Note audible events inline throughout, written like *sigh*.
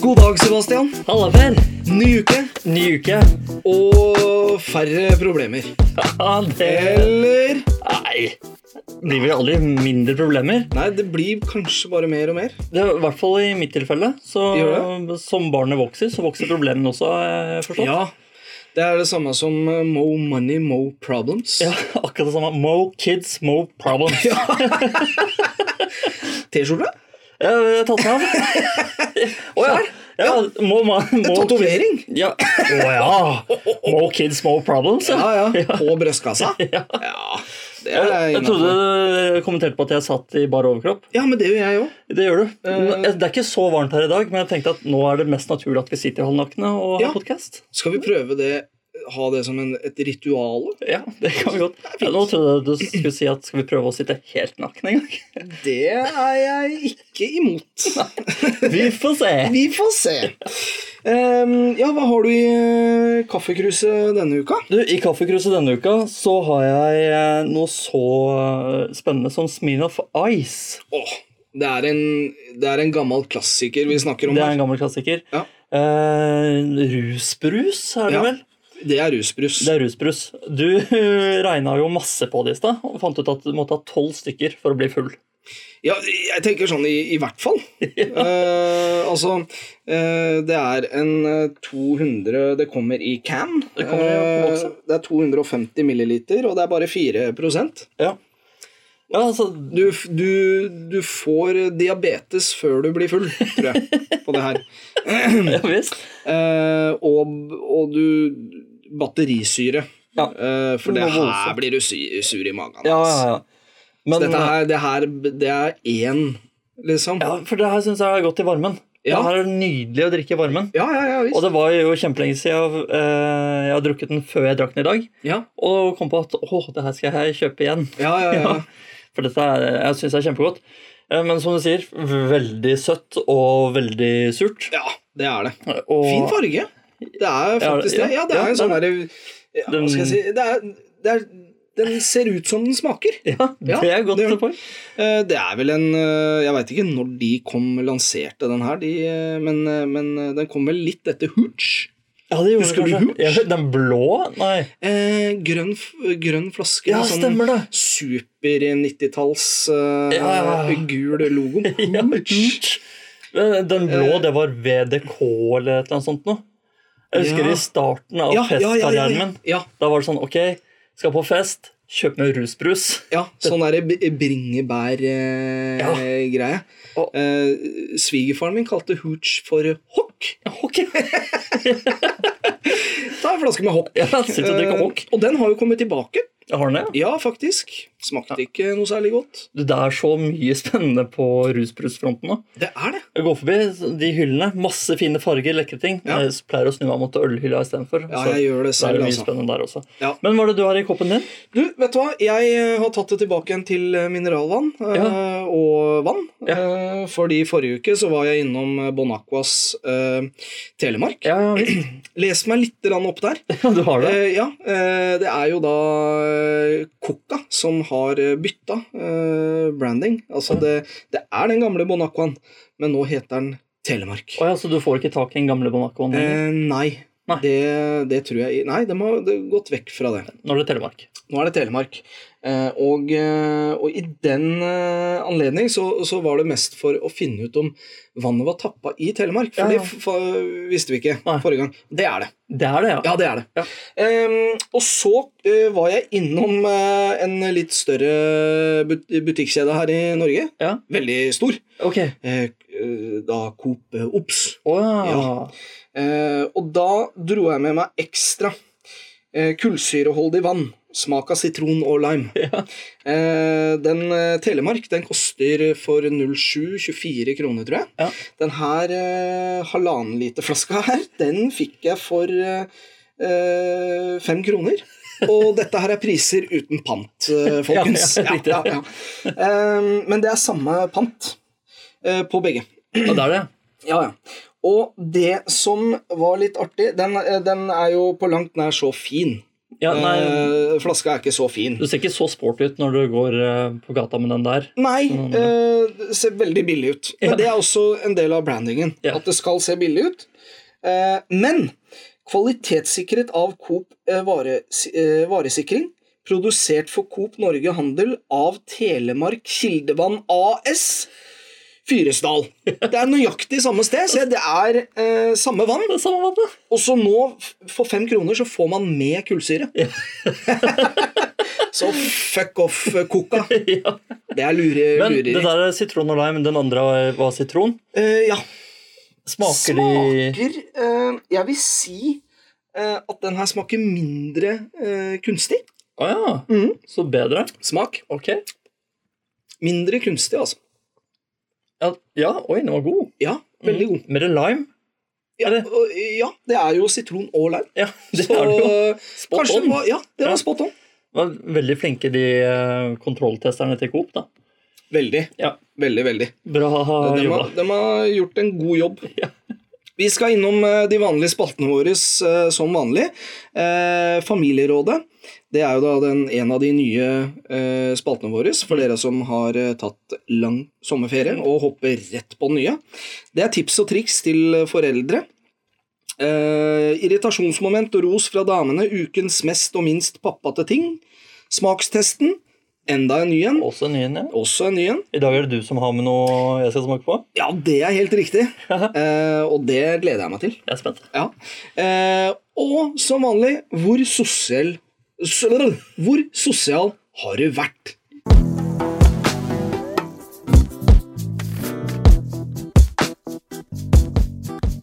God dag, Sebastian. Halla, Per. Ny uke Ny uke. og færre problemer. Ja, det Eller Nei. Blir vel aldri mindre problemer. Nei, det blir kanskje bare mer og mer. Det er I hvert fall i mitt tilfelle. Så Gjør Som barnet vokser, så vokser problemene også. har jeg forstått. Ja. Det er det samme som eh, mo money, mo problems. Ja, akkurat det samme. Mo kids, mo problems. T-skjorte? Jeg har tatt meg av. Å ja. ja må, man- må, Tatovering? Ja. Å ja. Mo kids, mo problems. Ja, Ja. ja. På brystkassa? Ja. Ja, det Jeg, er jeg innenfor. trodde du kommenterte på at jeg satt i bar overkropp. Ja, men det gjør jeg òg. Det gjør du. Nå- Eh. Det er ikke så varmt her i dag, men jeg tenkte at nå er det mest naturlig at vi sitter halvnakne og har Ja. podcast. Skal vi prøve det, ha det som en, et ritual? Ja, det kan vi godt. Ja, nå trodde jeg du skulle si at skal vi prøve å sitte helt nakne en gang. *laughs* Det er jeg ikke imot. Vi får se. Vi får se. Ehm, ja, hva har du i eh, kaffekruset denne uka? Du, I Kaffekruset denne uka så har jeg eh, noe så eh, spennende som Smirnoff Ice. Åh, det er, en, det er en gammel klassiker vi snakker om Det er her. en gammel klassiker. Ja. Eh, rusbrus, er det Ja. vel? Det er rusbrus. Det er rusbrus. Du *laughs* regna jo masse på det i stad og fant ut at du måtte ha tolv stykker for å bli full. Ja, jeg tenker sånn i, i hvert *laughs* fall. Eh, altså, eh, det er en eh, 200 Det kommer i can. Det kommer i boks, ja. Eh, det er 250 milliliter, og det er bare 4 du, Ja. Ja, altså, f- du, du får diabetes før du blir full, tror jeg, på det her. *laughs* *laughs* ja visst. Eh, og, og du Batterisyre. Ja. Eh, for det Det var her voldsomt. blir du sy- sur i magen. Ja, ass. ja, ja. Men, Dette her, det her det er én, liksom. ja, for det her syns jeg er godt i varmen. Ja. Det her er nydelig å drikke i varmen. ja, ja, ja Og visst. det var jo kjempelenge siden eh, jeg har drukket den før jeg drakk den i dag. Ja, Og kom på at å, det her skal jeg kjøpe igjen. ja, ja, ja. *laughs* Ja. For dette er, jeg syns det er kjempegodt. Eh, Men som du sier, veldig søtt og veldig surt. ja det er det. Og, Fin farge. Det er faktisk det. Ja, det er en sånn derre ja, Hva skal jeg si det er, det er, Den ser ut som den smaker. Ja, *laughs* Ja, det er godt det å gjør få. Eh, Det er vel en eh, Jeg veit ikke når de kom lanserte den her, de, eh, men, eh, men eh, den kom vel litt etter Hooch. Ja, det gjorde Husker du kanskje. Hooch? Ja, den blå? Nei. Eh, grønn, f- grønn flaske. Ja, med sånn stemmer det. Super 90-talls eh, Ja, ja. gul logo. *laughs* Ja, mm. Hooch. Eh, Den blå, det var VDK eller et eller annet sånt noe. Jeg husker Ja. i starten av Ja, ja, ja, ja, festkarrieren ja. min. ja, Da var det sånn, ok, skal på fest, kjøp meg rusbrus. *laughs* ja sånn derre bringebær-greie. Ja. Eh, greie. Og- eh, Svigerfaren min kalte hooch for hock. Ok. Ta en flaske med hock. Ja, *laughs* sitter og drikker Eh, hock. og den har jo kommet tilbake. Jeg har den, ja. Ja, faktisk. Smakte ikke noe særlig godt. Du, Det er så mye spennende på rusbrusfronten nå. Det er det. Jeg går forbi de hyllene. Masse fine farger, lekre ting. Ja. Jeg pleier å snu meg mot ølhylla istedenfor. Ja, så jeg gjør det så er selv, det mye altså. spennende der også. Ja. Men hva er det du har i koppen din? Du, vet du hva? Jeg eh, har tatt det tilbake igjen til eh, mineralvann eh, og vann. Ja. Eh, Fordi forrige uke så var jeg innom eh, Bon Aquas eh, Telemark. Ja, visst. Les meg litt grann opp der. *clears throat* Ja, du har det. Eh, ja, eh, det er jo da eh, Coca som har eh, bytta eh, branding. Altså, det, det er den gamle Bon Aquaen, men nå heter den Telemark. Å ja, Så du får ikke tak i den gamle Bonacoen Eh, nei, Nei. Det, det tror jeg Nei, de har de har gått vekk fra det. når det er Telemark? Nå er det Telemark. Eh, og, eh, og i den eh, anledning så, så var det mest for å finne ut om vannet var tappa i Telemark. For Ja, ja. det f- f- visste vi ikke Nei. forrige gang. Det er det. Det er det, ja. Ja, det er det. Ja. Ehm, og så eh, var jeg innom eh, en litt større but butikkjede her i Norge. Ja. Veldig stor. Ok. Eh, eh, da Coop eh, Ops. Å ja. Ja. Eh, og da dro jeg med meg ekstra eh, kullsyreholdig vann. Smak av sitron og lime. *laughs* Ja. Eh, den eh, Telemark den koster for 07-24 kroner, tror jeg. Ja. Den her eh, halvannen liter flaska her, den fikk jeg for eh, eh, fem kroner. *laughs* Og dette her er priser uten pant, eh, folkens. Ja, ja, riktig. ja. Eh, men det er samme pant eh, på begge. ja, det er det. Ja, ja. eh, Og det som var litt artig, den, den er jo på langt nær så fin Ja, nei, Eh, flaska er ikke så fin. du ser ikke så sporty ut når du går eh, på gata med den der. Nei, Mm. eh, det ser veldig billig ut. Men Ja. det er også en del av brandingen. Ja. At det skal se billig ut. Eh, men kvalitetssikret av Coop eh, vare, eh, varesikring, produsert for Coop Norge Handel av Telemark Kildevann AS. Fyresdal. Det er nøyaktig samme sted. Se, det er eh, samme vann. Det er samme vannet. Og så nå, f- for fem kroner, så får man med kullsyre. Ja. *laughs* så fuck off, eh, Coca. *laughs* ja. Det er lure, Men lureri. det der er sitron og lime. Den andre var sitron. Eh, ja. Smaker, de Smaker eh, Jeg vil si eh, at den her smaker mindre eh, kunstig. Å ja. Mm. Så bedre. Smak. Ok. Mindre kunstig, altså. Ja, ja, oi, den var god. Ja, veldig god. Mer lime. Ja, Mhm. Er det- og, eh, ja, det er jo sitron og lime. Ja, *laughs* det Så er det jo. eh, Spot kanskje det on. var, ja, det Ja. var spot on. Var veldig flinke, de eh, kontrolltesterne til Coop. da. Veldig. Ja. Veldig, veldig. Bra De jobba. har, de har gjort en god jobb. Ja. Vi skal innom eh, de vanlige spaltene våre eh, som vanlig. Eh, Familierådet. Det er jo da den, en av de nye eh, spaltene våre for dere som har eh, tatt lang sommerferie og hopper rett på den nye. Det er tips og triks til foreldre. Eh, irritasjonsmoment og ros fra damene. Ukens mest og minst pappate ting. Smakstesten. Enda en ny en. Også en ny en, ja. Også en ny en. I dag er det du som har med noe jeg skal smake på. Ja, det er helt *laughs* riktig. Eh, og det gleder jeg meg til. Jeg er spent. Ja. Eh, og som vanlig, hvor sosial s- Hvor sosial har du vært?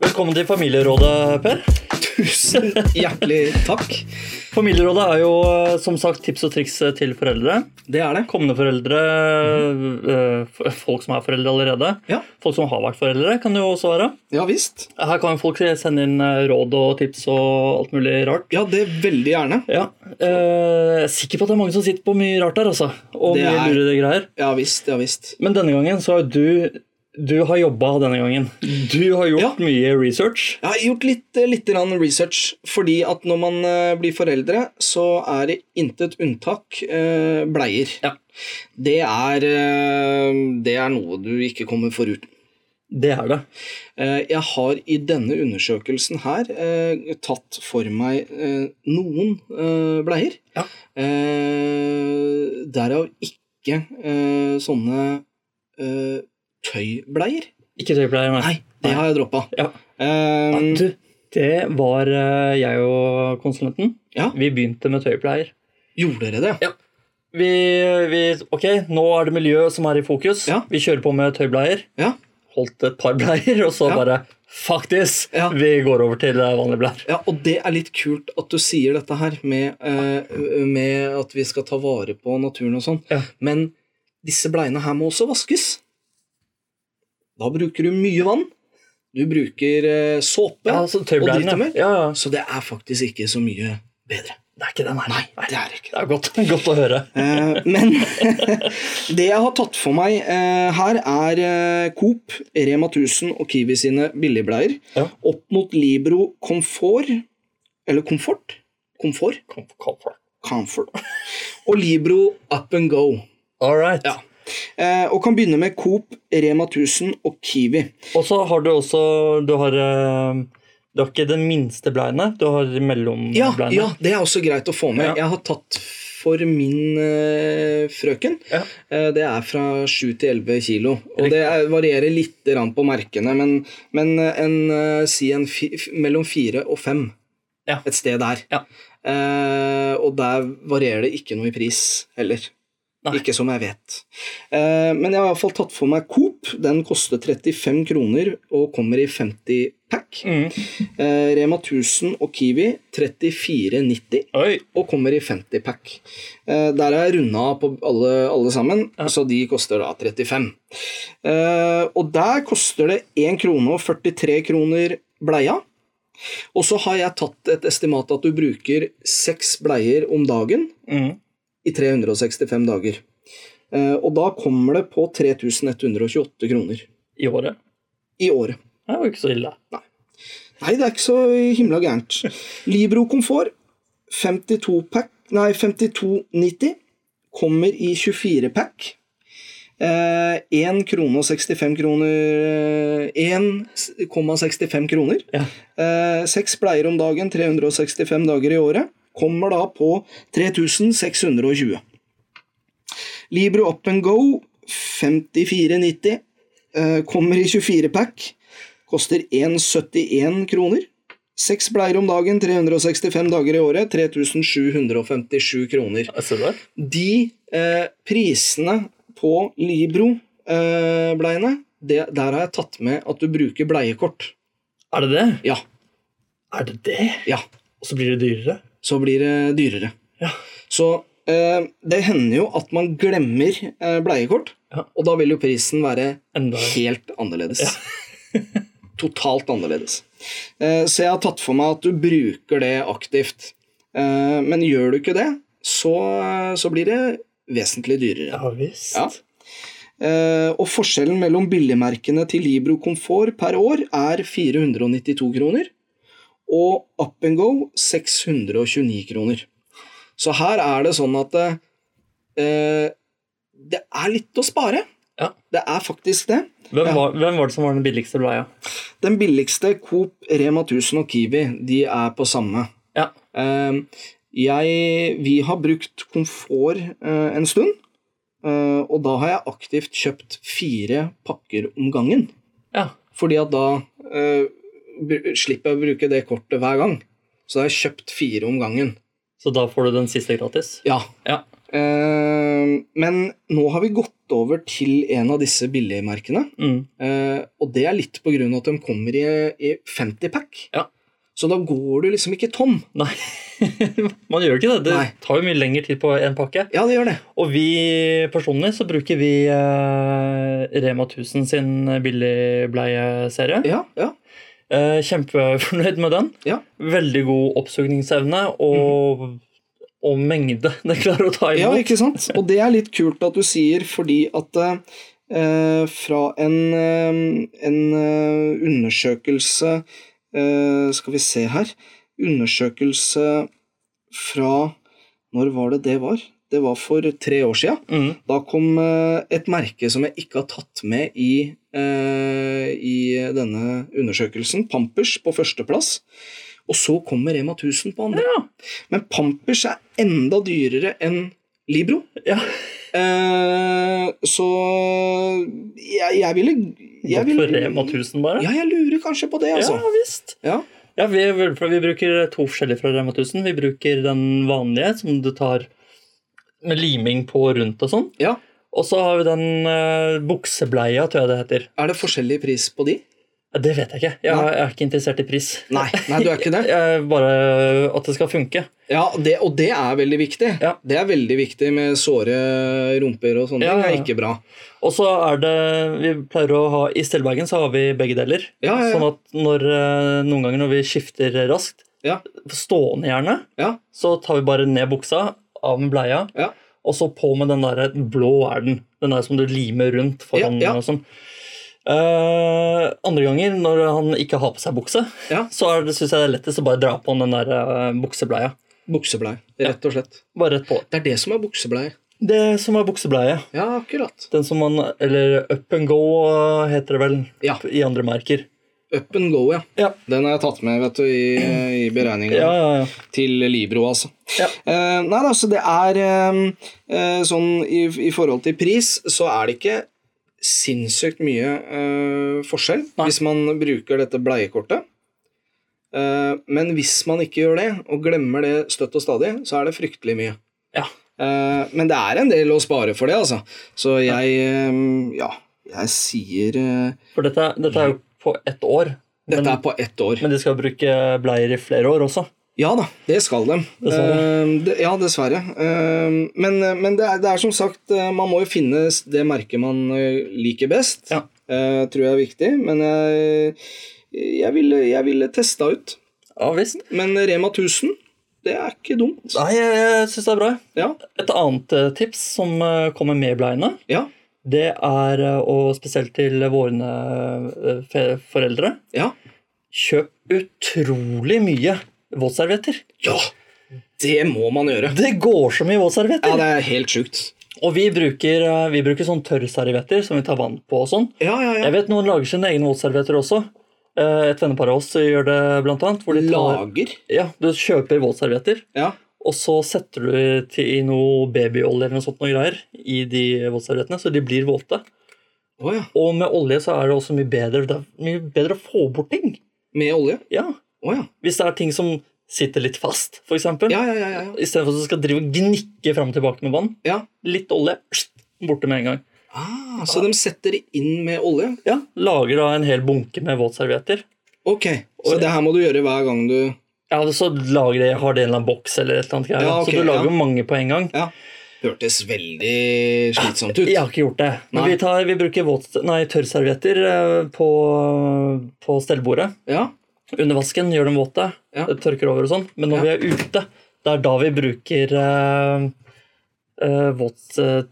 Velkommen til Familierådet, Per. Tusen hjertelig takk. Familierådet er jo eh, som sagt tips og triks eh, til foreldre. Det er det. Kommende foreldre, eh, f- folk som er foreldre allerede, Ja, folk som har vært foreldre, kan det jo også være. ja visst. Her kan folk sende inn eh, råd og tips og alt mulig rart. Ja, det veldig gjerne. Ja, eh, jeg er sikker på at det er mange som sitter på mye rart der, altså. Og Det mye er- lurede greier. Ja visst, ja visst. Men denne gangen så har du Du har jobba denne gangen. Du har gjort Ja. mye research. Jeg har gjort litt, litt grann research, fordi at når man eh, blir foreldre, så er det intet unntak eh, bleier. Ja. Det er, eh, det er noe du ikke kommer foruten. Det er det. Eh, Jeg har i denne undersøkelsen her eh, tatt for meg eh, noen eh, bleier. Ja. Eh, derav ikke eh, sånne eh, tøybleier. Ikke tøypleier, nei. Nei, det har jeg droppa. Ja. Eh, Du, det var eh, jeg og konsulenten. Ja. Vi begynte med tøypleier. gjorde dere det? Ja. Vi, vi, ok, nå er det miljø som er i fokus. Ja. Vi kjører på med tøybleier. Ja. Holdt et par bleier, og så Ja. bare Fuck this! Ja. Vi går over til eh, vanlige bleier. Ja, og det er litt kult at du sier dette her med, eh, med at vi skal ta vare på naturen og sånn, Ja. men disse bleiene her må også vaskes. Da bruker du mye vann. Du bruker eh, såpe. Ja, så tøybleierne. driter med. Ja, ja. Så det er faktisk ikke så mye bedre. Det er ikke den her. Det er det ikke. Det er godt, *laughs* godt å høre. Eh, men *laughs* det jeg har tatt for meg eh, her, er eh, Coop, Rema 1000 og Kiwi sine billigbleier. Ja. Opp mot Libro Comfort Eller Comfort? Comfort? Kom, kom for. Comfort. Og Libro Up and Go. All right. Ja. Eh, og kan begynne med Coop, Rema 1000 og Kiwi. Og så har du også Du har, eh, du har ikke den minste bleiene, du har Ja, mellombleiene. ja, det er også greit å få med. Ja. Jeg har tatt for min eh, frøken. Ja. Eh, det er fra 7 til 11 kilo. Og det er, varierer litt grann på merkene, men, men en, eh, si en fi, f- mellom 4 og 5. Ja. Et sted der. Ja. Eh, og der varierer det ikke noe i pris heller. Nei. Ikke som jeg vet. Eh, men jeg har iallfall tatt for meg Coop. Den koster 35 kroner og kommer i 50 pack. Mm. Eh, Rema 1000 og Kiwi 34,90 Oi. og kommer i 50-pack. Eh, der er jeg runda av på alle, alle sammen, så de koster da 35. Eh, og der koster det 1 krone og 43 kroner bleia. Og så har jeg tatt et estimat at du bruker seks bleier om dagen Mm. i 365 dager. Eh, og da kommer det på 3128 kroner I året. i året. Det var ikke så ille. Nei, det er ikke så himla gærent. Libro komfort 52-pack, nei 52,90 kommer i 24-pack. Eh, 1 krone og 65 kroner eh, 1,65 kroner. Ja. Eh, Seks bleier om dagen, 365 dager i året. Kommer da på 3620. Libro Up and Go 54,90. eh, Kommer i 24-pack. Koster 1,71 kroner. Seks bleier om dagen, 365 dager i året. 3757 kroner. Ja, Se der. De eh, prisene på Libro-bleiene, der har jeg tatt med at du bruker bleiekort. Er det det? Ja. Er det det? ja. Og så blir det dyrere? Så blir det dyrere. Ja. Så eh, det hender jo at man glemmer eh, bleiekort, Ja. og da vil jo prisen være Enda helt annerledes. *laughs* *laughs* Totalt annerledes. Eh, så jeg har tatt for meg at du bruker det aktivt. Eh, men gjør du ikke det, så, eh, så blir det vesentlig dyrere. Ja visst. Ja. Eh, og forskjellen mellom billigmerkene til Libro Comfort per år er 492 kroner, og Up and Go 629 kroner. Så her er det sånn at eh, det er litt å spare. Ja. Det er faktisk det. Hvem, Ja. var, hvem var det som var den billigste bleia? Den billigste Coop, Rema 1000 og Kiwi, de er på samme. Ja. Eh, jeg, vi har brukt komfort eh, en stund, eh, og da har jeg aktivt kjøpt fire pakker om gangen. ja. Fordi at da eh, br- slipper jeg å bruke det kortet hver gang. Så da har jeg kjøpt fire om gangen. Så da får du den siste gratis? Ja. Ja. Eh, men nå har vi gått over til en av disse billigmerkene. Mm. Eh, og det er litt på grunn av at de kommer i, i 50-pack. Ja. Så da går du liksom ikke tom. Nei, *laughs* man gjør ikke det. Det Nei. tar jo mye lengre tid på én pakke. Ja, det gjør det. Og vi personlig så bruker vi eh, Rema 1000 sin billigbleieserie. Ja, ja. Eh, kjempefornøyd med den. Ja. Mhm. Veldig god oppsugningsevne og, og mengde den klarer å ta Ja, imot. ikke sant? Og det er litt kult at du sier, fordi at eh, fra en, eh, en eh, undersøkelse eh, Skal vi se her Undersøkelse fra Når var det det var? Det var for tre år sia. Mm. Da kom eh, et merke som jeg ikke har tatt med i, eh, i denne undersøkelsen. Pampers på førsteplass. Og så kommer Rema 1000 på andre. Ja. Men Pampers er enda dyrere enn Libro. Ja. Eh, så jeg, jeg ville jeg Gått ville- for Rema 1000, bare? Ja, jeg lurer kanskje på det, altså. ja visst. Ja. Ja, vi, vi bruker to forskjellige fra Rema 1000. Vi bruker den vanlige, som du tar med liming på rundt og sånn. Ja. Og så har vi den eh, buksebleia, tror jeg det heter. Er det forskjellig pris på de? Ja, Det vet jeg ikke. Jeg, Nei. jeg er ikke interessert i pris. Nei, nei, du er ikke det? Jeg, bare at det skal funke. Ja, det, og det er veldig viktig. Ja. Det er veldig viktig med såre rumper og sånne Ja, ting. Det ja, er ja. ikke bra. Og så er det Vi pleier å ha I Stellbergen så har vi begge deler. Ja, ja, ja. Sånn at når, eh, noen ganger når vi skifter raskt, Ja. stående gjerne, Ja, så tar vi bare ned buksa, av med bleia, ja. og så på med den der blå er den. Den der som du limer rundt foran. Ja, ja. og sånn. Eh, andre ganger, når han ikke har på seg bukse, Ja. så er det, synes jeg det er lettest å bare dra på den der eh, buksebleia. Bukseblei, rett og slett. Bare rett på. Det er det som er bukseblei. Det som er buksebleie. Ja, akkurat. Den som man Eller up and go eh, heter det vel Ja. i andre merker. Up and go, ja. Ja. Den har jeg tatt med vet du, i, i beregninga Ja, ja, ja. til Libro, altså. Ja. Eh, nei, altså, det er eh, eh, sånn i, i forhold til pris, så er det ikke sinnssykt mye eh, forskjell Nei. hvis man bruker dette bleiekortet. Eh, men hvis man ikke gjør det, og glemmer det støtt og stadig, så er det fryktelig mye. Ja. Eh, men det er en del å spare for det, altså. Så jeg eh, Ja, jeg sier eh, For dette, dette er jo på ett år. Dette men, er på ett år. men de skal bruke bleier i flere år også. Ja da, det skal de. Dessverre. Eh, det- ja, dessverre. Eh, men men det, er, det er som sagt, eh, man må jo finne s- det merket man eh, liker best. Ja. Eh, tror jeg er viktig, men jeg, jeg, ville, jeg ville testa ut. Ja visst. Men Rema 1000, det er ikke dumt. Nei, jeg, jeg syns det er bra. Ja, Et annet eh, tips som eh, kommer med bleiene, ja, det er, eh, og spesielt til våre eh, fe- foreldre, ja. kjøp utrolig mye våtservietter. Ja! Det må man gjøre. Det går så mye våtservietter! Ja, det er helt sjukt. Og vi bruker, eh, vi bruker sånn tørrservietter som vi tar vann på og sånn. Ja, ja, ja. Jeg vet noen lager sine egne våtservietter også. Eh, Et vennepar av oss gjør det blant annet. Hvor de tar, Lager. ja, du kjøper våtservietter, Ja. og så setter du til, i noe babyolje eller noe sånt noe greier i de våtserviettene, så de blir våte. Å ja. Og med olje så er det også mye bedre. Det er mye bedre å få bort ting. Med olje? Ja. Å ja. Hvis det er ting som sitter litt fast, f.eks. I Ja, ja, ja. ja, ja. Istedenfor at du skal drive og gnikke fram og tilbake med vann. ja. Litt olje, *sniffs* borte med en gang. Ah, så de setter det inn med olje? Ja, Lager da en hel bunke med våtservietter. Ok, så det her må du gjøre hver gang du Ja, så lager det, har det en eller annen boks eller et eller annet greier. Ja, da. ok, så du ja. lager jo mange på en gang. Ja. Hørtes veldig slitsomt ut. Jeg har ikke gjort det. Men Nei. vi, tar, vi bruker våt, nei, tørrservietter eh, på, på stellebordet. Ja. Under vasken gjør dem våte. Ja. Det tørker over og sånn. Men når Ja. vi er ute, det er da vi bruker eh, eh, våt, eh,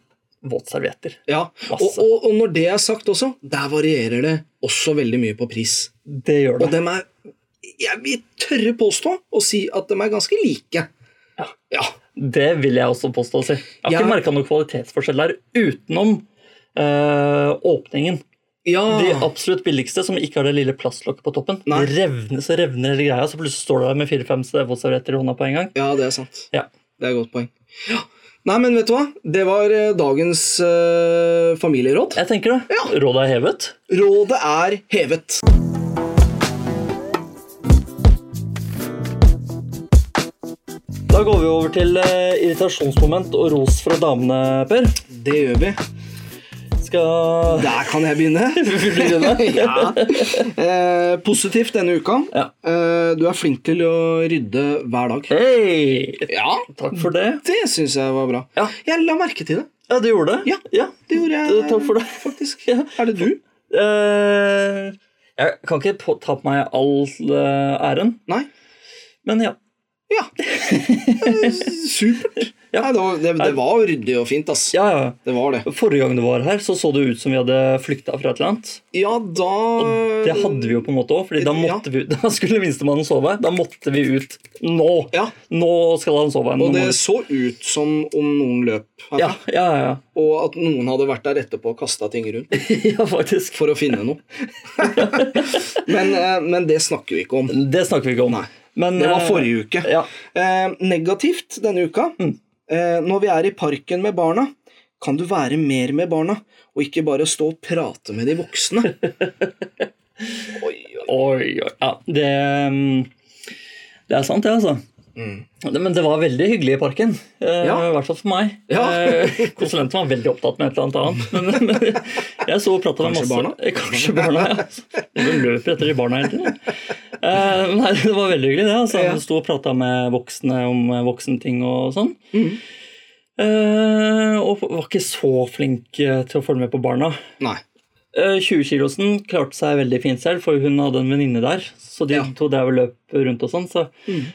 våtservietter. ja. Og, Masse. og, og når det er sagt også, der varierer det også veldig mye på pris. Det gjør Og det. dem er Jeg vil tørre påstå å si at dem er ganske like. Ja. Ja. Det vil jeg også påstå å si. Jeg har Ja. ikke merka noen kvalitetsforskjell der utenom eh, åpningen. ja. De absolutt billigste, som ikke har det lille plastlokket på toppen. Ah. Nei. De revner så revner hele greia, så plutselig står du der med fire-fem våtservietter i hånda på en gang. Ja, det er sant. Ja. Det er et godt poeng. Ja. Nei, men vet du hva? Det var eh, dagens eh, familieråd. Jeg tenker det. Ja. Rådet er hevet. Rådet er hevet. Da går vi over til eh, irritasjonsmoment og ros fra damene, Per. Det gjør vi. Skal Der kan jeg *laughs* begynne. vi *laughs* begynne? ja. eh, positivt denne uka. Ja. Eh, du er flink til å rydde hver dag. Hei! Ja, Takk for det. det syns jeg var bra. Ja. Jeg la merke til det. Ja, du gjorde det? Ja. Det gjorde jeg. Eh, takk for det. Faktisk. Ja. Er det du? Eh, jeg kan ikke på- ta på meg all eh, æren, Nei? men ja. Ja. *laughs* Eh, Supert. Ja. Nei, det, var, det, det var ryddig og fint, ass. ja, ja. Det var det. Forrige gang du var her, så så det ut som vi hadde flykta fra et eller annet. Ja, da Det hadde vi jo på en måte òg, fordi da, måtte vi, *laughs* da skulle minstemannen sove. Da måtte vi ut nå. Ja. Nå skal han sove. Og Nå må det vi- så ut som om noen løp herfra, ja, ja, ja, *laughs* og at noen hadde vært der etterpå og kasta ting rundt. ja. ja, faktisk. for å finne *laughs* noe. men, eh, men det snakker vi ikke om. Det snakker vi ikke om. Nei. Men, Det var eh, forrige uke. Ja. Mm. Eh, negativt denne uka. Eh, når vi er i parken med barna, kan du være mer med barna, og ikke bare stå og prate med de *laughs* voksne. Oi, oi. Ja, det, mm, det er sant, det, altså. Det- Men det var veldig hyggelig i parken. eh, Mm. Ja. I hvert fall for meg. Ja. Eh, Konsulenten var veldig opptatt med et eller annet annet. Men, men jeg så og prata med Kanskje masse barna? Eh, Kanskje barna, ja. Du løper etter de barna hele tiden. Eh, Nei, det var veldig hyggelig, det. altså. Ja. Jeg sto og prata med voksne om eh, voksenting og sånn. Mm. Eh, Og var ikke så flink eh, til å følge med på barna. Nei. Eh, 20-kilosen klarte seg veldig fint selv, for hun hadde en venninne der. Så de Ja. Mm. to drev og løp rundt og sånn, så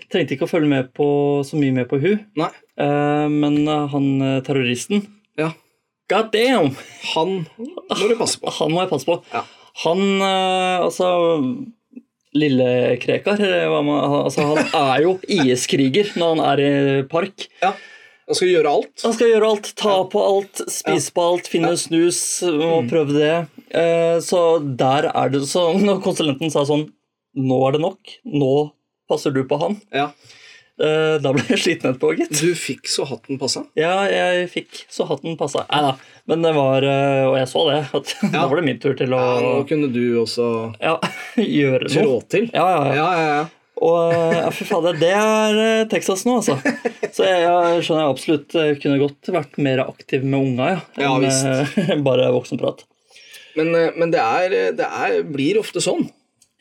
trengte ikke å følge med på, så mye med på hun. Nei. Eh, men eh, han eh, terroristen Ja. God damn! Han må du passe på. Han må jeg passe på. Ja. Han eh, Altså Lille Krekar, eller hva man, altså, han er jo IS-kriger når han er i park. Ja. Han skal gjøre alt. Han skal gjøre alt. Ta på alt, spise på alt, finne snus Mm. og prøve det. Eh, Så der er det Så *laughs* når konsulenten sa sånn Nå er det nok. Nå passer du på han. Ja. Eh, Da ble jeg sliten etterpå, gitt. Du fikk så hatten passa. Ja, jeg fikk så hatten passa. Nei da. Men det var eh, Og jeg så det. At *laughs* da Ja. var det min tur til å Ja, nå kunne du også ja, *laughs* gjøre trå noe. til. Ja, ja, ja. Ja, ja, ja. Og eh, ja, fy fader, det er eh, Texas nå, altså. Så jeg, jeg skjønner jeg absolutt eh, kunne godt vært mer aktiv med unga, ja. Ja, visst. eh, *laughs* bare voksenprat. Men, eh, men det, er, det er, blir ofte sånn.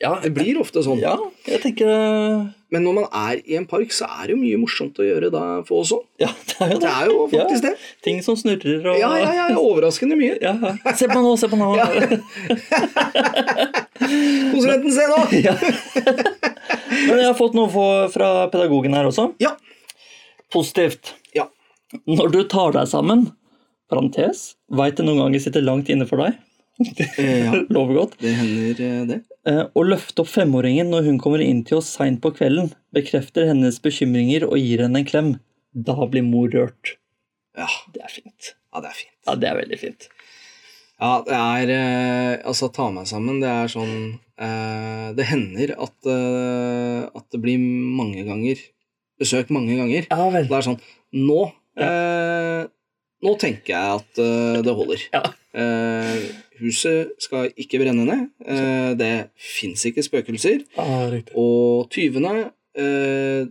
Ja, Det blir ofte sånn. ja, jeg tenker eh, Men når man er i en park, så er det jo mye morsomt å gjøre da for oss òg. Ja, det er jo Det er jo faktisk det. Ja, ting som snurrer og Ja, ja, ja, ja, overraskende mye. Ja, ja. Se på meg nå, se på meg *laughs* nå. Konsulenten, se nå! Men jeg har fått noe for- fra pedagogen her også. Ja. Positivt. ja. Når du tar deg sammen, parentes, veit det noen ganger sitter langt inne for deg, Eh, ja, Lover godt. det hender eh, det. Eh, Å løfte opp femåringen når hun kommer inn til oss seint på kvelden, bekrefter hennes bekymringer og gir henne en klem. Da blir mor rørt. Ja, Det er fint. ja det er fint. Ja, det er veldig fint. Ja, det er eh, Altså, ta meg sammen. Det er sånn eh, Det hender at, eh, at det blir mange ganger besøk mange ganger. Ja vel. Det er sånn Nå eh, Nå tenker jeg at eh, det holder. Ja. Eh, huset skal ikke brenne ned. Eh, det fins ikke spøkelser. Ah, riktig. Og tyvene eh,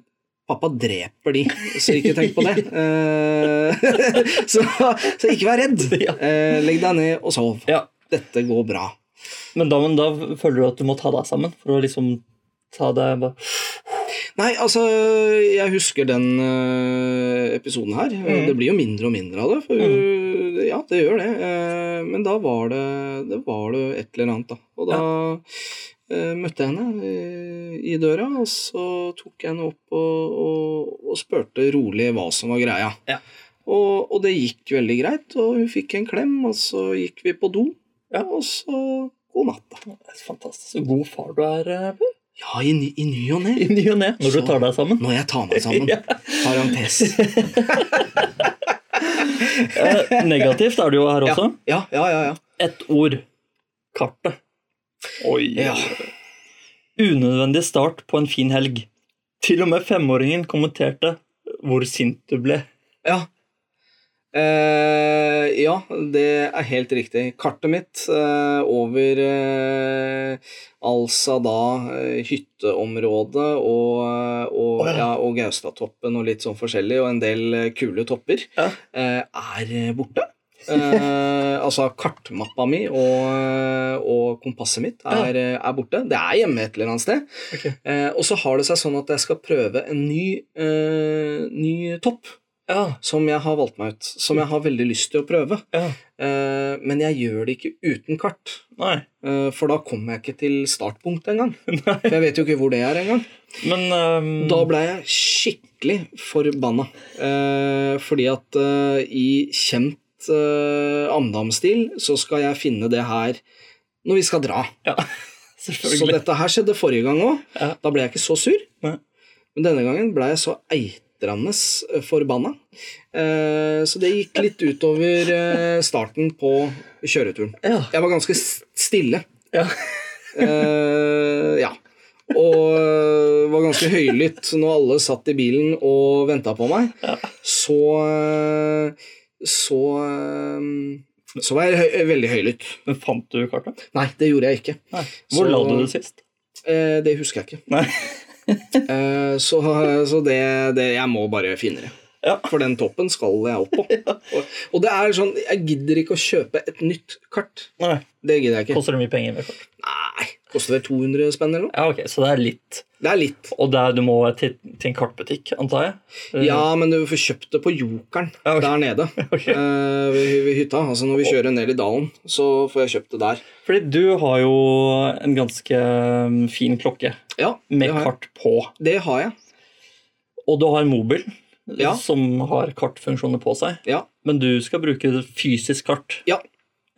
Pappa dreper de, så ikke tenk på det. Eh, *laughs* så, så ikke vær redd. Ja. Eh, legg deg ned og sov. Ja. Dette går bra. Men da, men da føler du at du må ta deg sammen for å liksom ta deg bare Nei, altså, jeg husker den eh, episoden her. Mm. Det blir jo mindre og mindre av det. For, Ja, det gjør det. Eh, men da var det, det var det et eller annet, da. Og da eh, møtte jeg henne eh, i døra, og så tok jeg henne opp og, og, og spurte rolig hva som var greia. Ja. Og, og det gikk veldig greit, og hun fikk en klem, og så gikk vi på do, Ja. og så god natt, da. Fantastisk. Så god far du er, eh, Per. Ja, i, ny- i ny og ne. I ny og ne. Når du Så- tar deg sammen. Når jeg tar meg sammen. *laughs* Ja. Parentes. Eh, negativt er det jo her også. Ja, ja, ja. ja. Ett ord. Kartet. Oi. Ja. Unødvendig start på en fin helg. Til og med femåringen kommenterte hvor sint du ble. Ja. Eh, ja, det er helt riktig. Kartet mitt eh, over eh, altså da eh, hytteområdet og, eh, og, Å, ja. ja, og Gaustatoppen og litt sånn forskjellig, og en del eh, kule topper, Ja. eh, er eh, borte. Eh, *laughs* altså kartmappa mi og, eh, og kompasset mitt er, eh, er borte. Det er hjemme et eller annet sted. Ok. Eh, og så har det seg sånn at jeg skal prøve en ny, eh, ny topp Ja, som jeg har valgt meg ut, som jeg har veldig lyst til å prøve. Mm. ja. Eh, men jeg gjør det ikke uten kart, Nei. eh, for da kommer jeg ikke til startpunktet engang. *laughs* Nei. For jeg vet jo ikke hvor det er engang. Men ehm, Da ble jeg skikkelig forbanna, eh, fordi at eh, i kjent eh, Amdam-stil så skal jeg finne det her når vi skal dra. Ja, *laughs* Så selvfølgelig. Sånn dette her skjedde forrige gang òg. Ja. Da ble jeg ikke så sur. Nei. Men denne gangen ble jeg så eitrende forbanna. Eh, Så det gikk litt utover eh, starten på kjøreturen. Ja. Jeg var ganske s- stille. Ja. Eh, ja. Og eh, var ganske høylytt når alle satt i bilen og venta på meg. Ja. Så eh, Så eh, Så var jeg høy, veldig høylytt. Men fant du kartet? Nei, det gjorde jeg ikke. Nei. Hvor Så- la du det sist? Eh, Det husker jeg ikke. Nei. Eh, Så, så det, det Jeg må bare finne det. Ja. For den toppen skal jeg *laughs* opp på. Og, og det er sånn Jeg gidder ikke å kjøpe et nytt kart. Nei. Det gidder jeg ikke. Koster det mye penger med kart? Nei, koster det 200 spenn eller noe? Ja, ok, Så det er litt. Det er litt. Og det er, du må til, til en kartbutikk, antar jeg? Eh, Ja, men du får kjøpt det på Jokeren Ja, ok. der nede. ok. eh, ved, ved hytta. Altså når vi kjører ned i dalen, så får jeg kjøpt det der. Fordi du har jo en ganske ehm, fin klokke Ja, med det har jeg. kart på. Det har jeg. Og du har en mobil Ja. som har kartfunksjoner på seg. Ja. Men du skal bruke fysisk kart. Ja.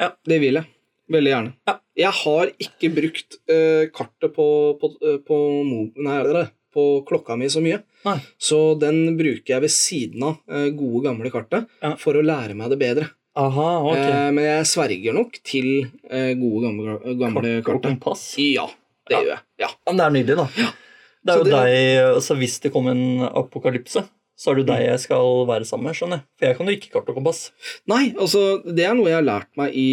Ja. Det vil jeg. Veldig gjerne. Ja. Jeg har ikke brukt eh, kartet på, på, eh, på, mo- nei, eller, på klokka mi så mye. Nei. Så den bruker jeg ved siden av eh, gode, gamle kartet Ja. for å lære meg det bedre. Aha, ok. Eh, men jeg sverger nok til eh, gode, gamle, gamle kart og kartet. kompass. Ja, det Ja. gjør jeg. Ja. Ja, men det er nydelig, da. Det er Så jo det- deg, så Hvis det kom en apokalypse, så er det jo deg jeg skal være sammen med. skjønner jeg. For jeg kan jo ikke kart og kompass. Nei, altså, det er noe jeg har lært meg i,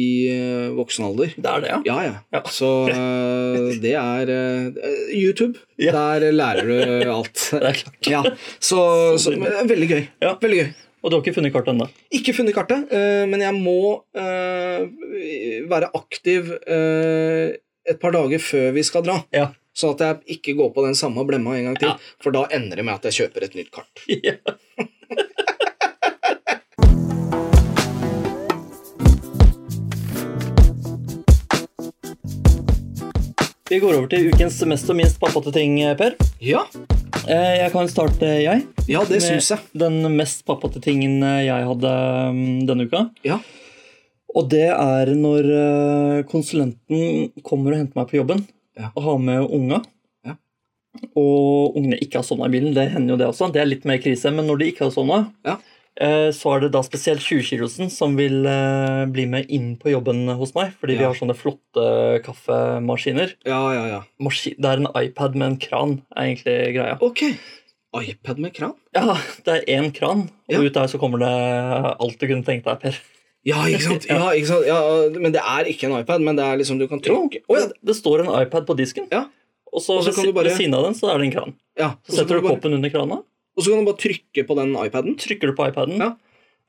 i eh, voksen alder. Det er det, ja. Ja, ja. Ja. Så eh, det er eh, YouTube. Ja. Der lærer du alt. *laughs* Det er klart. Ja, så, så men det er Veldig gøy. Sånn, Ja. Veldig gøy. Og du har ikke funnet kartet ennå? Ikke funnet kartet, eh, men jeg må eh, være aktiv eh, et par dager før vi skal dra. Ja. Sånn at jeg ikke går på den samme blemma en gang til. Ja. For da ender det med at jeg kjøper et nytt *laughs* kart. Ja. Vi går over til ukens mest og minst pappate ting, Per. Ja, Eh, Jeg kan starte, jeg. ja det eh, syns jeg. Med Den mest pappate tingen jeg hadde mm, denne uka. Ja. Og det er når eh, konsulenten kommer og henter meg på jobben Ja. og har med unga. Ja. Og ungene ikke har sovna i bilen. Det hender jo det også. Det er litt mer krise. Men når de ikke har sovna, Ja. eh, så er det da spesielt 20-kilosen som vil eh, bli med inn på jobben hos meg. Fordi vi Ja. har sånne flotte kaffemaskiner. Ja, ja, ja. Maski det er en iPad med en kran, er egentlig greia. Ok. iPad med kran? Ja, det er én kran, og Ja. ut der så kommer det alt du kunne tenkt deg, Per. Ja, ikke sant? Ja, ikke sant? Ja, men det er ikke en iPad, men det er liksom du kan trykke Å ja. Det- Det står en iPad på disken, Ja. og så, Og så ved, kan du si- bare- ved siden av den så er det en kran. ja. Så setter kan du bare, koppen under krana, og så kan du bare trykke på den iPaden. trykker du på iPaden. Ja.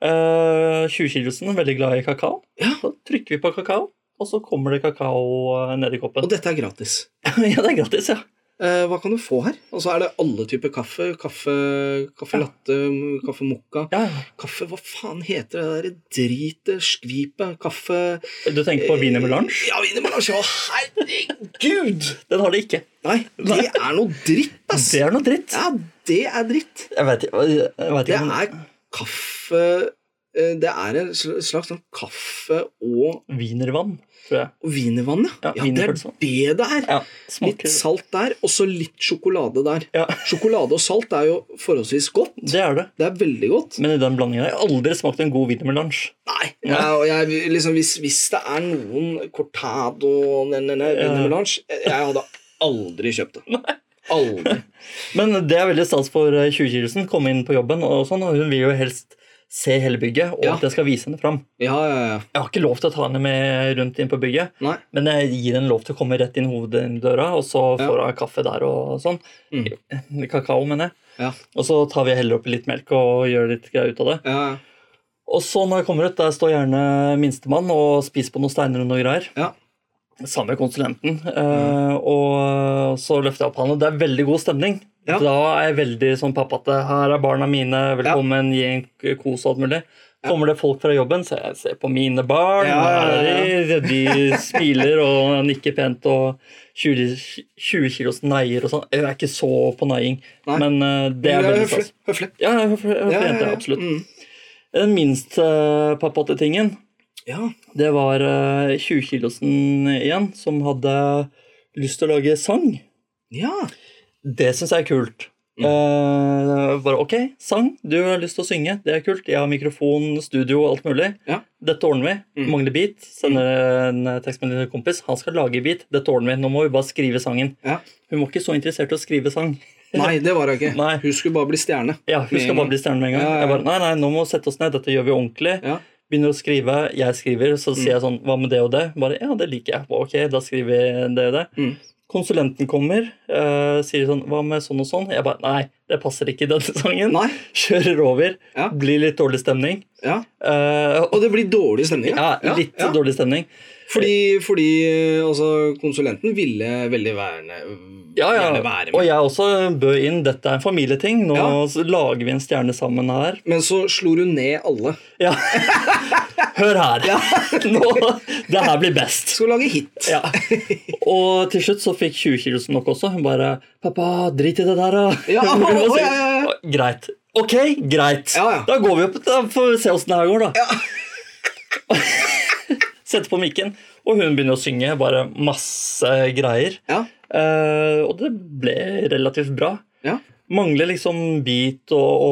Eh, 20-kilosen er veldig glad i kakao. Ja. Så trykker vi på kakao, og så kommer det kakao eh, nedi koppen. Og dette er gratis. *laughs* ja, det er gratis, ja. Eh, hva kan du få her? Og så er det alle typer kaffe. Kaffe, kaffe latte, kaffe mokka. ja. Kaffe, hva faen heter det der dritet, skvipet, kaffe Du tenker på wiener melange? Ja, wienermelange. Å, herregud! Den har det ikke. Nei, det er noe dritt, ass. Det er noe dritt. Ja, det er dritt. Jeg vet ikke, jeg vet Det ikke om er kaffe eh, Det er en sl- slags sånn kaffe og Wienervann, tror jeg. og wienervann, ja. Ja, ja. Det er wienerpølse. det det er. Ja, Litt smaker salt der, og så litt sjokolade der. Ja. Sjokolade og salt er jo forholdsvis godt. Det er det. Det er veldig godt. Men i den blandinga har jeg aldri smakt en god wiener melange. Nei. Ja, og jeg, liksom, hvis, hvis det er noen cortado ne, ne, ne, Ja. melange, jeg, jeg hadde aldri kjøpt *laughs* det. Aldri. Men det er veldig stas for eh, 20-kilosen. Komme inn på jobben og sånn. og Hun vil jo helst se hele bygget, og Ja. at jeg skal vise henne fram. Ja, ja, ja. Jeg har ikke lov til å ta henne med rundt inn på bygget, Nei. men jeg gir henne lov til å komme rett inn hoveddøra, og så Ja. får hun kaffe der og sånn. Mm. Kakao, mener jeg. Ja. Og så tar vi og heller oppi litt melk og gjør litt greier ut av det. Ja, Og så når jeg kommer ut, der står gjerne minstemann og spiser på noen steiner og noe greier. Ja. Sammen med konsulenten. Eh, Mm. og så løfter jeg opp hånda. Det er veldig god stemning. Ja. Da er jeg veldig sånn pappate. Her er barna mine, velkommen, gi en k- kos og alt mulig. Kommer det folk fra jobben, så jeg ser på mine barn. Ja, ja, her er De, de smiler og nikker pent. Og 20 20 kilos neier og sånn. Jeg er ikke så på neiing, Nei. men eh, det ja. er veldig høflig. stas. Høflig. Ja, jeg er for- jeg er for jenter, absolutt. Mm. Den minst eh, pappate tingen, Ja. det var eh, 20-kilosen igjen, som hadde lyst til å lage sang. ja. Det syns jeg er kult. Mm. Eh, bare OK, sang. Du har lyst til å synge. Det er kult. Jeg har mikrofon, studio, alt mulig. Ja. Dette ordner vi. Mm. Mangler beat. Sender en tekstmelding til en kompis. Han skal lage beat. Dette ordner vi. Nå må vi bare skrive sangen. Ja. Hun var ikke så interessert i å skrive sang. Nei, det var hun ikke. Nei. Hun skulle bare bli stjerne. Ja, Hun Med skal en gang. bare bli stjerne med en gang. Ja, ja, ja. Jeg bare, nei, nei, nå må vi sette oss ned. Dette gjør vi ordentlig. Ja. Mm. begynner å skrive, jeg skriver, så sier jeg sånn, hva med det og det? Bare, ja, det liker jeg. Ok, da skriver vi det og det. Mm. Konsulenten kommer, eh, sier sånn, hva med sånn og sånn? Jeg bare, nei, det passer ikke i denne sangen. Nei. Kjører over, Ja. blir litt dårlig stemning. Ja. Eh, og, Og det blir dårlig stemning. ja, litt ja. dårlig stemning. Fordi, fordi eh, altså, konsulenten ville veldig verne, Ja, ja. gjerne være med. Og jeg også bød inn, dette er en familieting, nå Ja. s- lager vi en stjerne sammen her. Men så slo hun ned alle. Ja. *laughs* Hør her. Nå, *laughs* det her blir best. Skal lage hit. Ja. Og til slutt så fikk 20-kilosen nok også. Hun bare 'Pappa, drit i det der, da'. Ja, *laughs* Hun var å, så- ja, ja, ja. Greit. Ok, greit. Ja, ja. Da går vi opp da får vi se åssen det her går, da. *laughs* Setter på mikken, og hun begynner å synge bare masse greier. Ja. Eh, og det ble relativt bra. Ja. Mangler liksom beat og,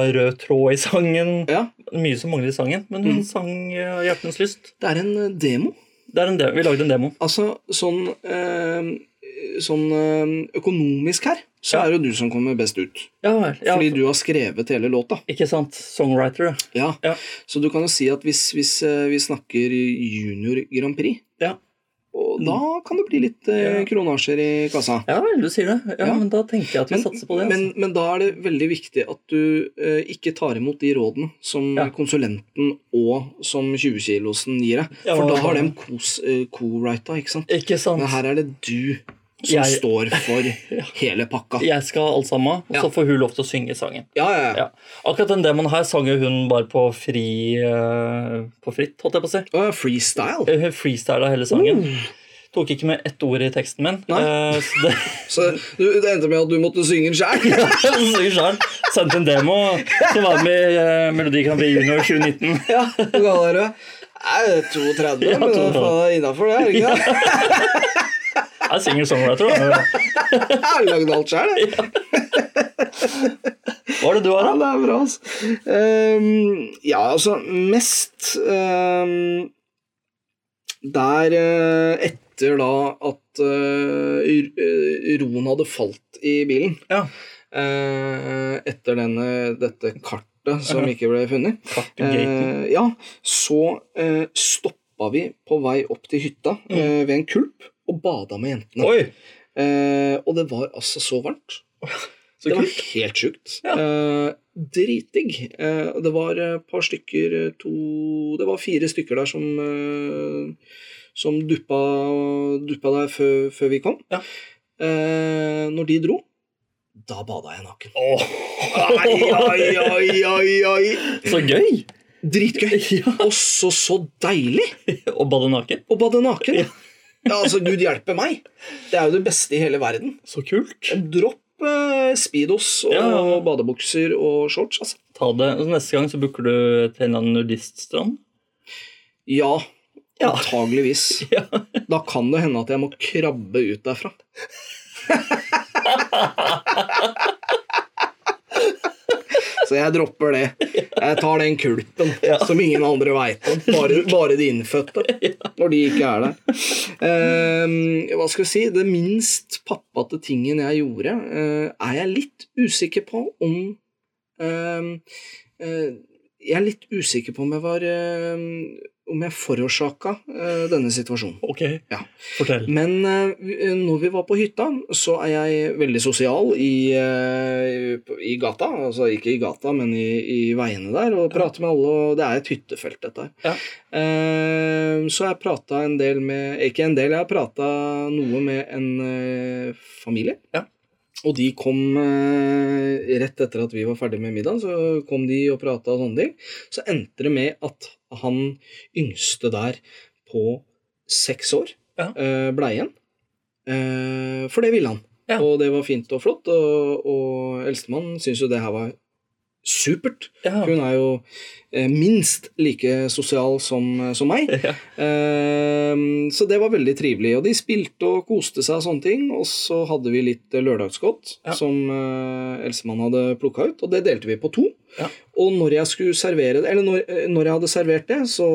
og rød tråd i sangen. ja. Mye som mangler i sangen, men hun sang eh, 'Hjertens lyst'. Det er en eh, demo. Det er en de- vi lagde en demo. Altså sånn, eh, sånn eh, økonomisk her, så Ja. er det jo du som kommer best ut. Ja vel. Ja, Fordi du har skrevet hele låta. Ikke sant? Songwriter, Ja. Ja. Så du kan jo si at hvis, hvis eh, vi snakker junior Grand Prix, ja. og Mm. da kan det bli litt eh, Ja. kronasjer i kassa. Ja vel, du sier det. Ja, Ja. Men da tenker jeg at vi Men, satser på det. men, altså. men da er det veldig viktig at du eh, ikke tar imot de rådene som Ja. konsulenten og som 20-kilosen gir deg. Ja, For da har ja. de kos- eh, co-writa, ikke sant? Ikke sant? Men her er det du som Jeg- står *laughs* for hele pakka. Ja, Jeg skal ha alt sammen, og Ja. så får hun lov til å synge sangen. ja, ja. Ja. Akkurat den demoen her sang jo hun bare på fri eh, På fritt, holdt jeg på å si. Å, freestyle. Eh, Hun freestyla hele sangen. Tok ikke med ett ord i teksten min. Nei. eh, så det, *laughs* Så du, det endte med at du måtte synge den sjæl. ja, så synger selv. Sendte en demo som var med i eh, Melodi Grand Prix Junior 2019. Ja, hvor gammel er du? Nei, 32, Ja, men det er 32. faen innafor det, er det ikke det? Jeg er singer songwriter. da. *laughs* Jeg har lagd alt sjøl, jeg. Hva er det du har, Ja, da? det er bra, altså. Ehm, ja, altså, mest ehm, Der eh, etter da at eh, r- eh, roen hadde falt i bilen Ja. eh, Etter denne, dette kartet som ikke ble funnet Kartgaten. eh, Ja, så eh, stoppa vi på vei opp til hytta eh, ved en kulp og bada med jentene. Oi! Eh, og det var altså så varmt. Så det var kult. helt sjukt. Ja. Eh, dritdigg. Eh, og det var et par stykker eh, to Det var fire stykker der som eh, som duppa, duppa der før, før vi kom. Ja. Eh, når de dro, da bada jeg *laughs* naken. Åh. Ai, ai, ai, ai, ai. Så gøy! Dritgøy. *laughs* Ja. Også så deilig Og bade naken. å bade naken. Ja. Ja, altså, Gud hjelpe meg. Det er jo det beste i hele verden. Så kult. Dropp eh, Speedos og Ja, ja, ja. badebukser og shorts. Altså. Ta det. Så neste gang så booker du til en eller annen nudiststrand. Ja, Ja. antageligvis. *laughs* Ja. Da kan det hende at jeg må krabbe ut derfra. Så jeg dropper det. Jeg tar den kulpen Ja. som ingen andre veit om. Bare, bare de innfødte. Når de ikke er der. Eh, hva skal jeg si? Det minst pappate tingen jeg gjorde, eh, er jeg litt usikker på om eh, eh, Jeg er litt usikker på om jeg var eh, Om jeg forårsaka eh, denne situasjonen. Ok, Ja. fortell. Men eh, vi- når vi var på hytta, så er jeg veldig sosial i, eh, i gata. Altså ikke i gata, men i, i veiene der, og prater med alle. Og det er et hyttefelt, dette her. Ja. Eh, Så jeg prata en del med Ikke en del, jeg har prata noe med en eh, familie. Ja. Og de kom eh, rett etter at vi var ferdig med middagen, så kom de og prata og sånne ting. Så endte det med at han yngste der på seks år Ja. eh, ble igjen. Eh, for det ville han. Ja. Og det var fint og flott, og, og eldstemann syntes jo det her var supert. Ja. For hun er jo eh, minst like sosial som, eh, som meg. Ja. Ehm, Så det var veldig trivelig. Og de spilte og koste seg og sånne ting. Og så hadde vi litt eh, lørdagsgodt Ja. som eh, Elsemann hadde plukka ut, og det delte vi på to. Ja. Og når jeg skulle servere det, eller når, eh, når jeg hadde servert det, så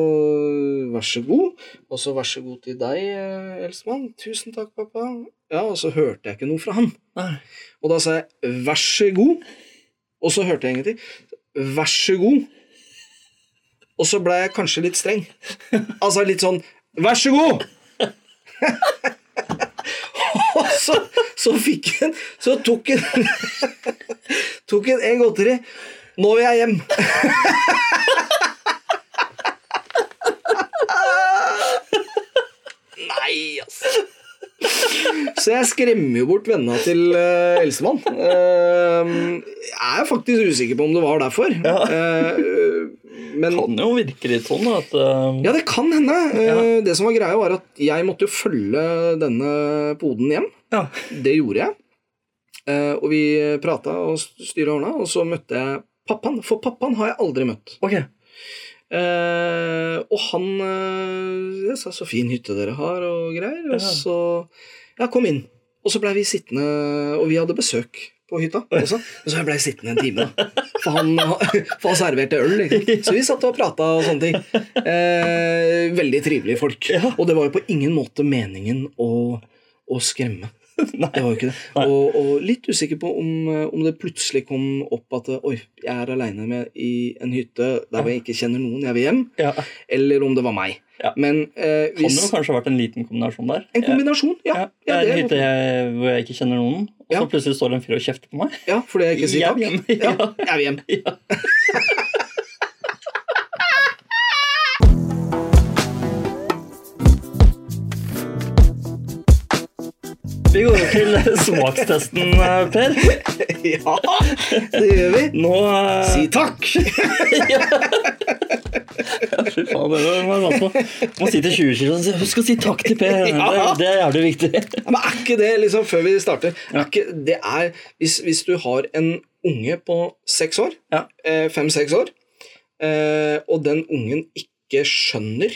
vær så god. Og så vær så god til deg, eh, Elsemann. Tusen takk, pappa. Ja, og så hørte jeg ikke noe fra han. Nei. Og da sa jeg vær så god. Og så hørte jeg ingenting. Vær så god. Og så ble jeg kanskje litt streng. Altså litt sånn Vær så god! *laughs* Og så, så fikk hun Så tok hun *laughs* Tok hun en godteri. Nå vil jeg hjem. *laughs* Nei, altså. Så jeg skremmer jo bort vennene til uh, Elsemann. Eh, jeg er faktisk usikker på om det var derfor. Eh, men Kan jo virke litt sånn da, at eh, ja, det kan hende. Eh, Det som var greia, var at jeg måtte jo følge denne poden hjem. ja. Det gjorde jeg. Eh, Og vi prata og styra ordna, og så møtte jeg pappaen. For pappaen har jeg aldri møtt. Ok. Eh, og han eh, jeg sa 'så fin hytte dere har', og greier. Og Ja. så Ja, kom inn. Og så blei vi sittende, og vi hadde besøk på hytta også. Og så blei jeg sittende en time, da. For han, for han serverte øl. Ikke? Så vi satt og prata og sånne ting. Eh, veldig trivelige folk. Ja. Og det var jo på ingen måte meningen å, å skremme. Det var jo ikke det. Nei. Og, og litt usikker på om, eh, om det plutselig kom opp at eh, oi, jeg er aleine i en hytte der hvor jeg ikke kjenner noen, jeg vil hjem. Ja. Eller om det var meg. Ja. Men eh, Kan det hvis jo kanskje ha vært en liten kombinasjon der. En kombinasjon, ja. Ja, Ja, det er en det hytte jeg, hvor jeg ikke kjenner noen, og så Ja. plutselig står det en fyr og kjefter på meg. ja fordi jeg ikke sier Jeg takk. vil hjem. Ja, jeg vil hjem. *laughs* Vi går jo til *laughs* smakstesten, eh, Per. Ja, det gjør vi. Nå eh, Si takk! Fy faen, det var det var vanskelig. Må si til 20 kilo og si, Husk å si takk til Per. Det, Ja. det er jævlig viktig. Men er ikke det, liksom, før vi starter er ikke, Det er hvis, hvis du har en unge på seks år, Ja. eh, fem-seks år, eh, og den ungen ikke ikke skjønner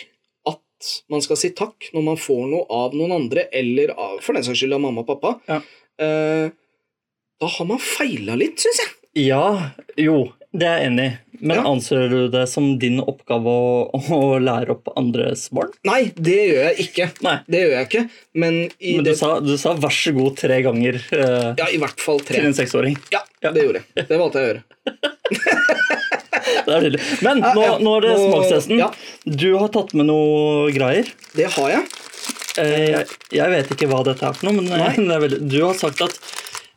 at man skal si takk når man får noe av noen andre, eller av, for den saks skyld av mamma og pappa, Ja. eh, da har man feila litt, syns jeg. Ja, jo, det er jeg enig i. Men Ja. anser du det som din oppgave å, å lære opp andres barn? Nei, det gjør jeg ikke. Nei. Det gjør jeg ikke, men i, Men du det, sa, du sa 'vær så god' tre ganger eh, ja, i hvert fall til tre. en seksåring. Ja, det gjorde jeg. Det valgte jeg å gjøre. Det er tydelig. Men nå, ja. nå er det Nå- smakstesten. ja. Du har tatt med noe greier. Det har jeg. Eh, jeg, jeg vet ikke hva dette er for noe, men eh, *laughs* det er veldig, du har sagt at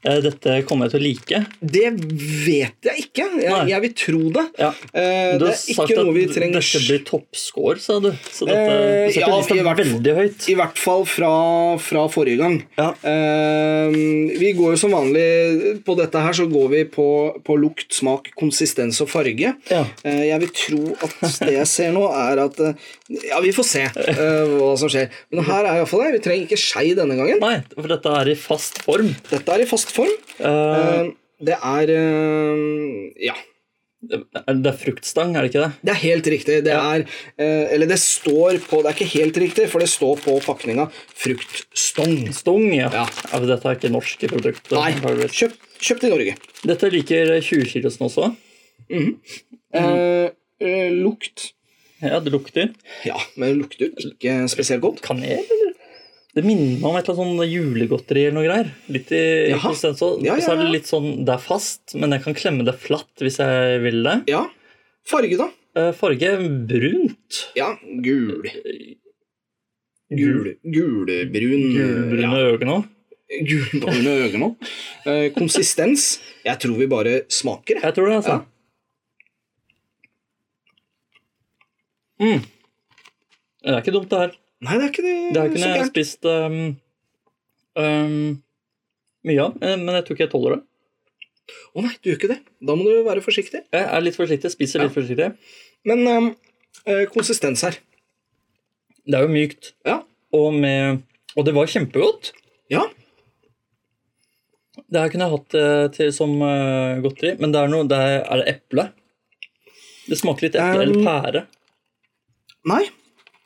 eh, dette kommer jeg til å like. Det vet jeg ikke. Jeg, Nei. jeg vil tro det. Ja. Eh, Du det har er sagt ikke at noe vi trenger dette blir toppscore, sa du. Så dette Eh, du setter ja, i lista hvert fall- veldig høyt. I hvert fall fra, fra forrige gang. Ja. Eh, vi går jo som vanlig på dette her, så går vi på, på lukt, smak, konsistens og farge. Ja. Eh, jeg vil tro at det jeg ser nå, er at eh, Ja, vi får se eh, hva som skjer. Men her er iallfall det. Vi trenger ikke skei denne gangen. Nei, for dette er i fast form. Dette er i fast form. Eh, Eh, det er eh, Ja. Er det det er fruktstang, er det ikke det? Det er helt riktig. Det er eh, Eller det står på Det er ikke helt riktig, for det står på pakninga fruktstong. Stong, ja. Ja. Ja, men Dette er ikke norske produkter. Nei, antageligvis. kjøpt, kjøpt i Norge. Dette liker 20-kilosen også. Mhm. Eh, eh, lukt Ja, Det lukter Ja, men lukter jo ikke spesielt godt. kanel, eller? Det minner meg om et eller annet sånn julegodteri eller noe greier. Litt i i Jaha. konsistens også. Ja, ja, Og så er det ja. litt sånn, det er fast, men jeg kan klemme det flatt hvis jeg vil det. Ja. Farge, da? Eh, Farge brunt. Ja, gul. Gul, gulbrun Gulbrune ja, øyne òg. Gulbrune øyne. Eh, konsistens Jeg tror vi bare smaker. jeg. Jeg tror det, altså. Mm. Det er ikke dumt, det her. Nei, det er ikke det. Det har Mm, ikke så noe jeg gærent. har spist um, um, mye av, eh, men jeg tror ikke jeg tåler det. Å nei, du gjør ikke det. Da må du være forsiktig. Jeg er litt forsiktig, spiser litt forsiktig. Men eh, eh, konsistens her. Det er jo mykt, Ja. og, med, og det var kjempegodt. Ja. Det her kunne jeg hatt eh, til, som eh, godteri, men det er noe det er, er det eple? Det smaker litt Um, eple eller pære. Nei,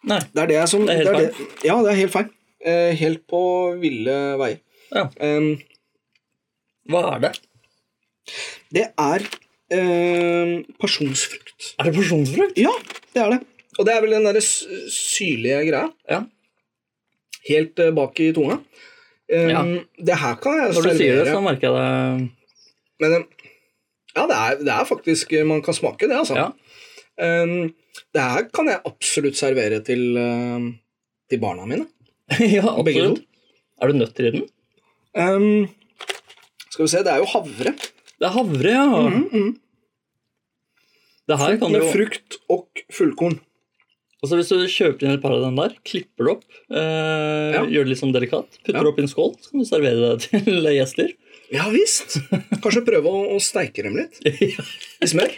Nei. det er det jeg som Det er helt det det- Ja, det er helt feil. Eh, helt på ville veier. Ja. Um, Hva er det? Det er eh, pasjonsfrukt. Er det porsjonsfrukt? Ja, det er det. Og det er vel den derre s- syrlige greia Ja. helt eh, bak i tunga. Eh, Ja. Det her kan jeg Når du sier det, så merker jeg det. Men eh, ja, det er, det er faktisk eh, Man kan smake det, altså. Ja. Eh, det her kan jeg absolutt servere til, eh, til barna mine. *laughs* ja, Begge to. absolutt. Er det nøtter i den? Eh, skal vi se, det er jo havre. Det er havre, ja. Mm-hmm. Det her kan du Med jo Mhm. frukt og fullkorn. Altså Hvis du kjøper inn et par av den der, klipper det opp, eh, Ja. gjør det litt sånn delikat, putter Ja. det opp i en skål, så kan du servere det *laughs* til gjester. Ja visst. *laughs* Kanskje prøve å, å steike dem litt Ja, i smør.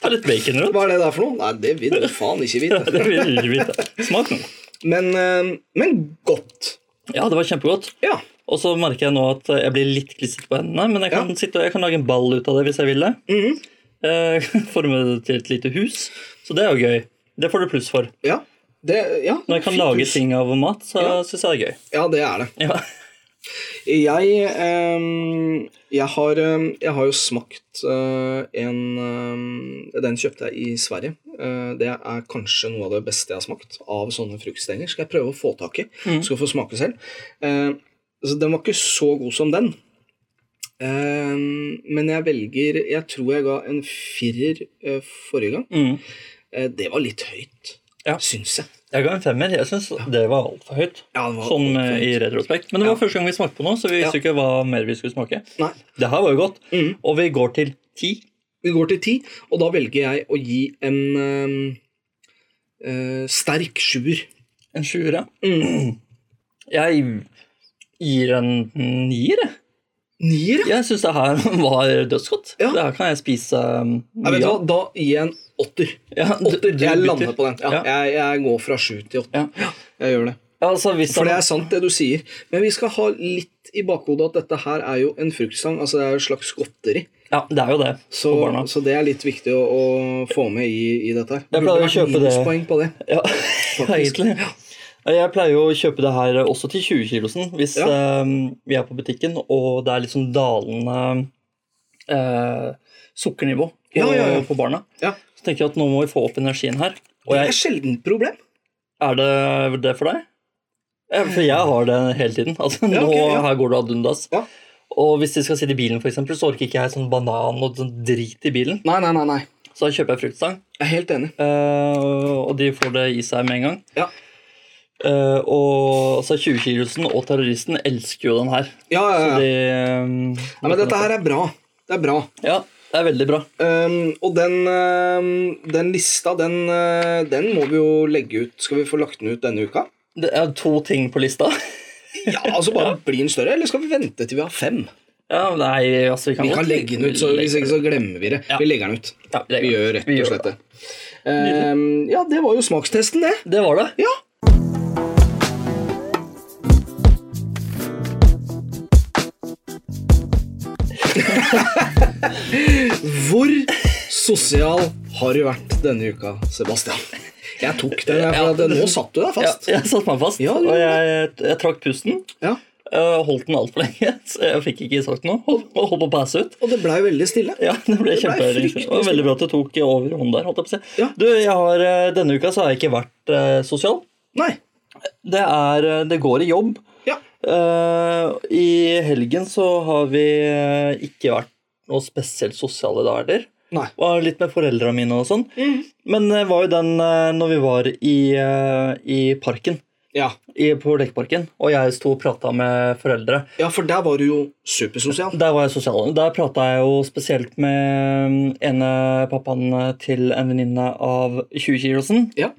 Ta litt bacon *laughs* rundt. Hva er det der for noe? Nei, det vil du faen ikke vite. Det vil du ikke vite. Smak nå. Men, eh, men godt. Ja, det var kjempegodt. Ja. Og så merker jeg nå at jeg blir litt klissete på hendene, men jeg kan, Ja. sitte, og- jeg kan lage en ball ut av det hvis jeg vil det. Mhm. Eh, *laughs* Forme det til et lite hus. Så det er jo gøy. Det får du pluss for. ja. Det, ja. Når jeg kan Fint lage hus. ting av mat, så Ja. syns jeg det er gøy. Ja, det er det. Ja. Jeg, eh, jeg, har, eh, jeg har jo smakt eh, en eh, Den kjøpte jeg i Sverige. Eh, det er kanskje noe av det beste jeg har smakt av sånne fruktstenger. Skal jeg prøve å få tak i. Mhm. Skal få smake selv. Eh, så den var ikke så god som den. Eh, men jeg velger Jeg tror jeg ga en firer eh, forrige gang. Mm. Eh, Det var litt høyt, Ja. syns jeg. Jeg ga en femmer. Jeg syns det var altfor høyt. Ja, det var sånn altfor eh, i retrospekt. Men det var første gang vi smakte på noe, så vi Ja. visste ikke hva mer vi skulle smake. Nei. Det her var jo godt. Mhm. Og vi går til ti. Vi går til ti, og da velger jeg å gi en eh, eh, sterk sjuer. En sjuer, ja. Mm. *clears throat* Jeg gir en nier, jeg. Nier, ja. Jeg syns det her *laughs* var dødsgodt. Ja. Det her kan jeg spise um, Nei, vet mye du hva? av. Da gir jeg en åtter. Ja, du- åtter. du Jeg bytter. lander på den. Ja, Ja. Jeg, jeg går fra sju til åtte. Ja. Jeg gjør det. Altså, hvis For det han, er sant, det du sier. Men vi skal ha litt i bakhodet at dette her er jo en fruktsang. Altså det er jo et slags godteri. ja, det er jo det. Så, for barna. så det er litt viktig å, å få med i, i dette her. Jeg pleier å kjøpe det. minuspoeng på det. *laughs* *laughs* Ja, egentlig. Jeg pleier jo å kjøpe det her også til 20-kilosen hvis Ja. eh, vi er på butikken og det er liksom dalende eh, sukkernivå på, Ja, ja, ja. på barna. Ja. Så tenker jeg at nå må vi få opp energien her. Og Det er jeg, et sjeldent problem. er det det for deg? Ja, for jeg har det hele tiden. *laughs* Altså, Ja, ok, nå, ja. Her går det ad undas. Ja. Og hvis de skal sitte i bilen, for eksempel, så orker ikke jeg sånn banan og sånn drit i bilen. Nei, nei, nei. nei. Så da kjøper jeg fruktstang. Jeg er helt enig. Eh, og de får det i seg med en gang. Ja. Eh, og altså 20-kilosen og terroristen elsker jo den her. Ja, ja, Så ja. de um, Nei, men dette her er bra. Det er bra. Ja, det er veldig bra. Um, og den, um, den lista, den, uh, den må vi jo legge ut. Skal vi få lagt den ut denne uka? Det er to ting på lista. *laughs* Ja, altså Bare blir den større, eller skal vi vente til vi har fem? ja, nei, altså Vi kan, Vi godt kan legge den ut, så Hvis ikke så glemmer vi det. Ja. Vi legger den ut. Ja, vi legger Vi den. gjør rett Vi og gjør slett det. Um, ja, det var jo smakstesten, det. Det var det. Ja. *laughs* Hvor sosial har du vært denne uka, Sebastian? Jeg tok den, jeg, for Ja. at nå satt du deg Ja, fast. jeg satte meg fast, Ja, du og gjorde jeg, jeg trakk pusten. Ja. eh, holdt den altfor lenge, *laughs* så jeg fikk ikke sagt noe. Holdt, holdt på å passe ut. Og det blei veldig stille. Ja, det ble Det ble kjempeøring. fryktelig Det var veldig bra at du tok over hånden der. Holdt jeg på å si. Ja. Du, jeg har, eh, Denne uka så har jeg ikke vært eh, sosial. Nei. Det, er, eh, det går i jobb. Ja. Eh, I helgen så har vi eh, ikke vært noe spesielt sosiale dager. Nei. Var litt med foreldra mine og sånn. Men det var jo den eh, når vi var i, eh, i parken. Ja. I, på Lekeparken. Og jeg sto og prata med foreldre. ja, for der var du jo supersosial. Der var jeg sosial. Der prata jeg jo spesielt med mm, ene pappaen til en venninne av 20-kilosen. Ja.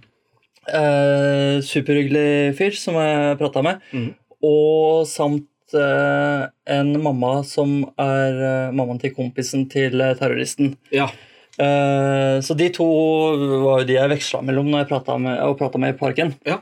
Eh, superhyggelig fyr som jeg prata med. Mhm. Og samt eh, en mamma som er eh, mammaen til kompisen til eh, terroristen. Ja. Eh, så de to var jo de jeg veksla mellom når jeg prata med, og pratet med i parken. Ja.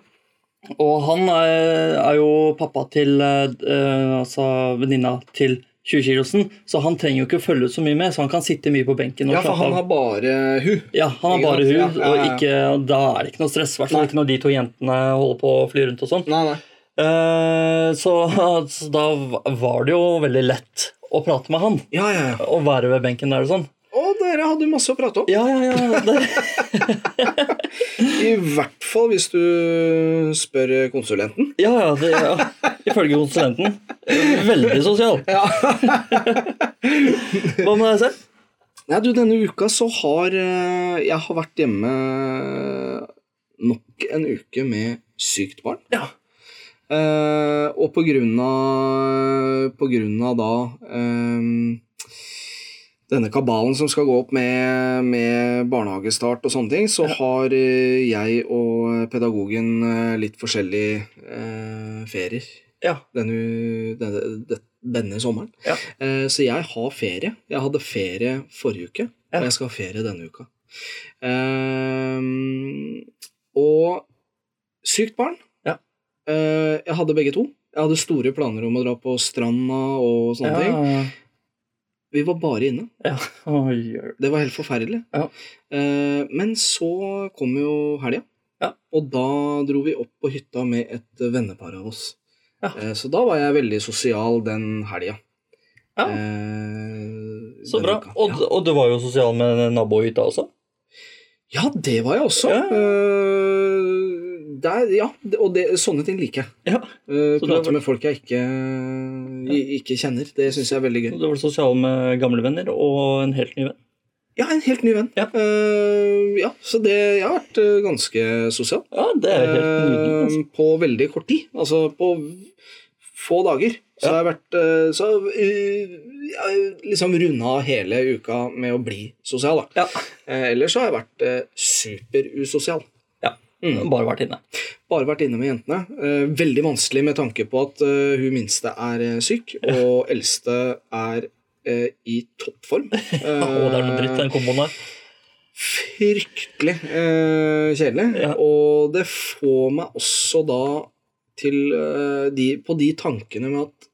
Og han er, er jo pappa til eh, eh, altså venninna til 20-kilosen, så han trenger jo ikke følge ut så mye med, så han kan sitte mye på benken. og ja, for slappe av. han har bare hun. Ja, han har Ikke bare sant? hud, Ja, ja, ja. og ikke, og da er det ikke noe stress. I hvert fall ikke når de to jentene holder på å fly rundt og sånn. Nei, nei. Eh, så, *laughs* så da var det jo veldig lett å prate med han. Ja, ja, ja. Å være ved benken der og sånn. Og dere hadde jo masse å prate om. Ja, ja, ja. Det, I hvert fall hvis du spør konsulenten. *laughs* ja, ja, det, ja. Ifølge konsulenten. Veldig sosial. Hva med deg selv? Nei, du, denne uka så har eh, jeg har vært hjemme nok en uke med sykt barn. Ja. Eh, og på grunn av, på grunn av da eh, denne kabalen som skal gå opp med, med barnehagestart og sånne ting, så har eh, jeg og pedagogen eh, litt forskjellige eh, ferier Ja. denne, denne, det- denne sommeren. Ja. Eh, så jeg har ferie. Jeg hadde ferie forrige uke, Ja. og jeg skal ha ferie denne uka. Ehm, og sykt barn. Ja. Eh, jeg hadde begge to. Jeg hadde store planer om å dra på stranda og sånne ja. ting. Vi var bare inne. ja. Oi, oi. Det var helt forferdelig. Ja. Eh, men så kom jo helga, Ja. og da dro vi opp på hytta med et vennepar av oss. Ja. Eh, så da var jeg veldig sosial den helga. Ja. Eh, Så den bra. uka. Og, ja. og du var jo sosial med nabohytta også? ja, det var jeg også. Ja. Eh, der, ja, det- og det, sånne ting liker jeg. Ja. Eh, Så da prate var- med folk jeg ikke, ikke kjenner. Det syns jeg er veldig gøy. Du var sosial med gamle venner og en helt ny venn? Ja, en helt ny venn. Ja. Eh, ja, så det, jeg har vært eh, ganske sosial. Ja, det er helt nydelig. Altså. Eh, På veldig kort tid. Altså på få dager. Så Ja. har jeg vært eh, Så eh, jeg har liksom runda hele uka med å bli sosial, da. Ja. Eh, Ellers så har jeg vært eh, superusosial. ja. Mm. Bare vært inne. Bare vært inne med jentene. Eh, Veldig vanskelig med tanke på at eh, hun minste er eh, syk, og eldste er eh, i toppform. *laughs* Å, det er noe dritt, den komboen der. fryktelig eh, kjedelig. Ja. Og det får meg også da til, eh, de, på de tankene med at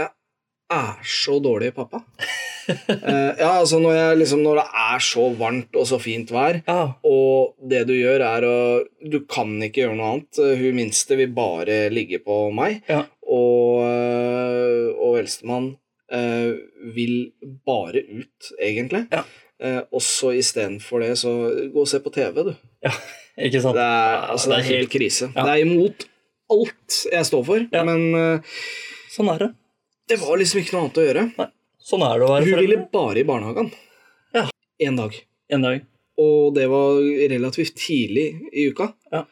jeg er så dårlig pappa. Eh, ja, altså når, jeg, liksom, når det er så varmt og så fint vær, Ja. og det du gjør er å Du kan ikke gjøre noe annet. Eh, Hun minste vil bare ligge på meg. Ja. Og, øh, og eldstemann øh, vil bare ut, egentlig. Ja. Eh, og så istedenfor det, så gå og se på TV, du. Ikke sant? Det er, altså, det er helt krise. Ja. Det er imot alt jeg står for, Ja. men øh, Sånn er det. det var liksom ikke noe annet å gjøre. Sånn er det å være Hun ville forelder. bare i barnehagen. Ja. En dag. En dag. Og det var relativt tidlig i uka. Ja.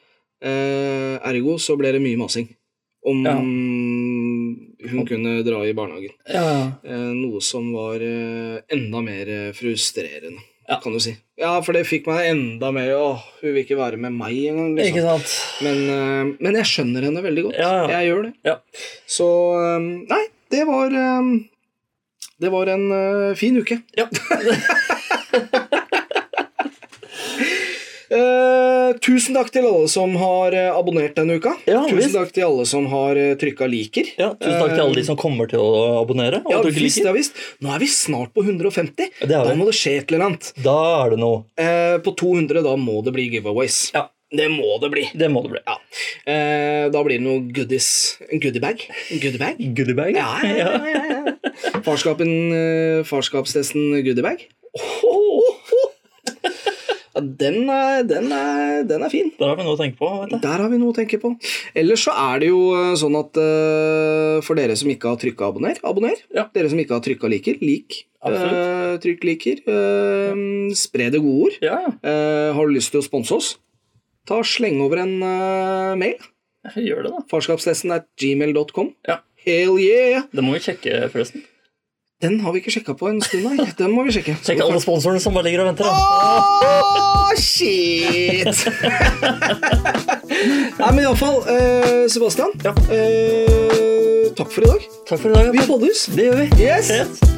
Eh, ergo så ble det mye masing om Ja. hun kunne dra i barnehagen. Ja, ja. Eh, noe som var eh, enda mer eh, frustrerende, Ja. kan du si. Ja, for det fikk meg enda mer Åh, hun vil ikke være med meg engang. Ikke Liksom. sant? Men, eh, men jeg skjønner henne veldig godt. Ja, ja. Jeg gjør det. Ja. Så eh, Nei, det var eh, Det var en eh, fin uke. Ja. Eh, tusen takk til alle som har eh, abonnert denne uka. Ja, tusen visst. takk til alle som har uh, trykka liker. *laughs* ja. Tusen takk til alle de som kommer til å abonnere. Og Ja, at du ikke visst, liker. ja, visst. Nå er vi snart på 150. Ja, det er da vi. må det skje et eller annet. Da er det noe. Eh, på 200 da må det bli giveaways. Ja. Det må det bli. Det må det bli. Ja. Eh, da blir det noe goodies. En goodiebag. En goodiebag. Goodiebag. Ja, ja, ja, ja, ja. Farskapen, eh, farskapstesten goodiebag. Ja, den, er, den, er, den er fin. *laughs* Der har vi noe å tenke på. vet du. Der har vi noe å tenke på. Ellers så er det jo eh, sånn at eh, for dere som ikke har trykka abonner, abonner. Ja. Dere som ikke har trykka liker, lik. Absolutt. Eh, trykk liker. Eh, Spre det gode ord. Ja, Eh, har du lyst til å sponse oss? Ta og Sleng over en eh, mail. gjør det, da. Farskapstesten er gmail.com. Ja. Hell yeah! Det må vi sjekke, forresten. Den har vi ikke sjekka på en stund, *laughs* nei. Den må vi sjekke. Sjekk alle sponsorene som bare ligger og venter. Da. Åh, *laughs* shit! Nei, men iallfall, eh, Sebastian. Ja. Eh, takk for i dag. Takk for i dag. Vi poddes. Det gjør vi. Yes. Ses.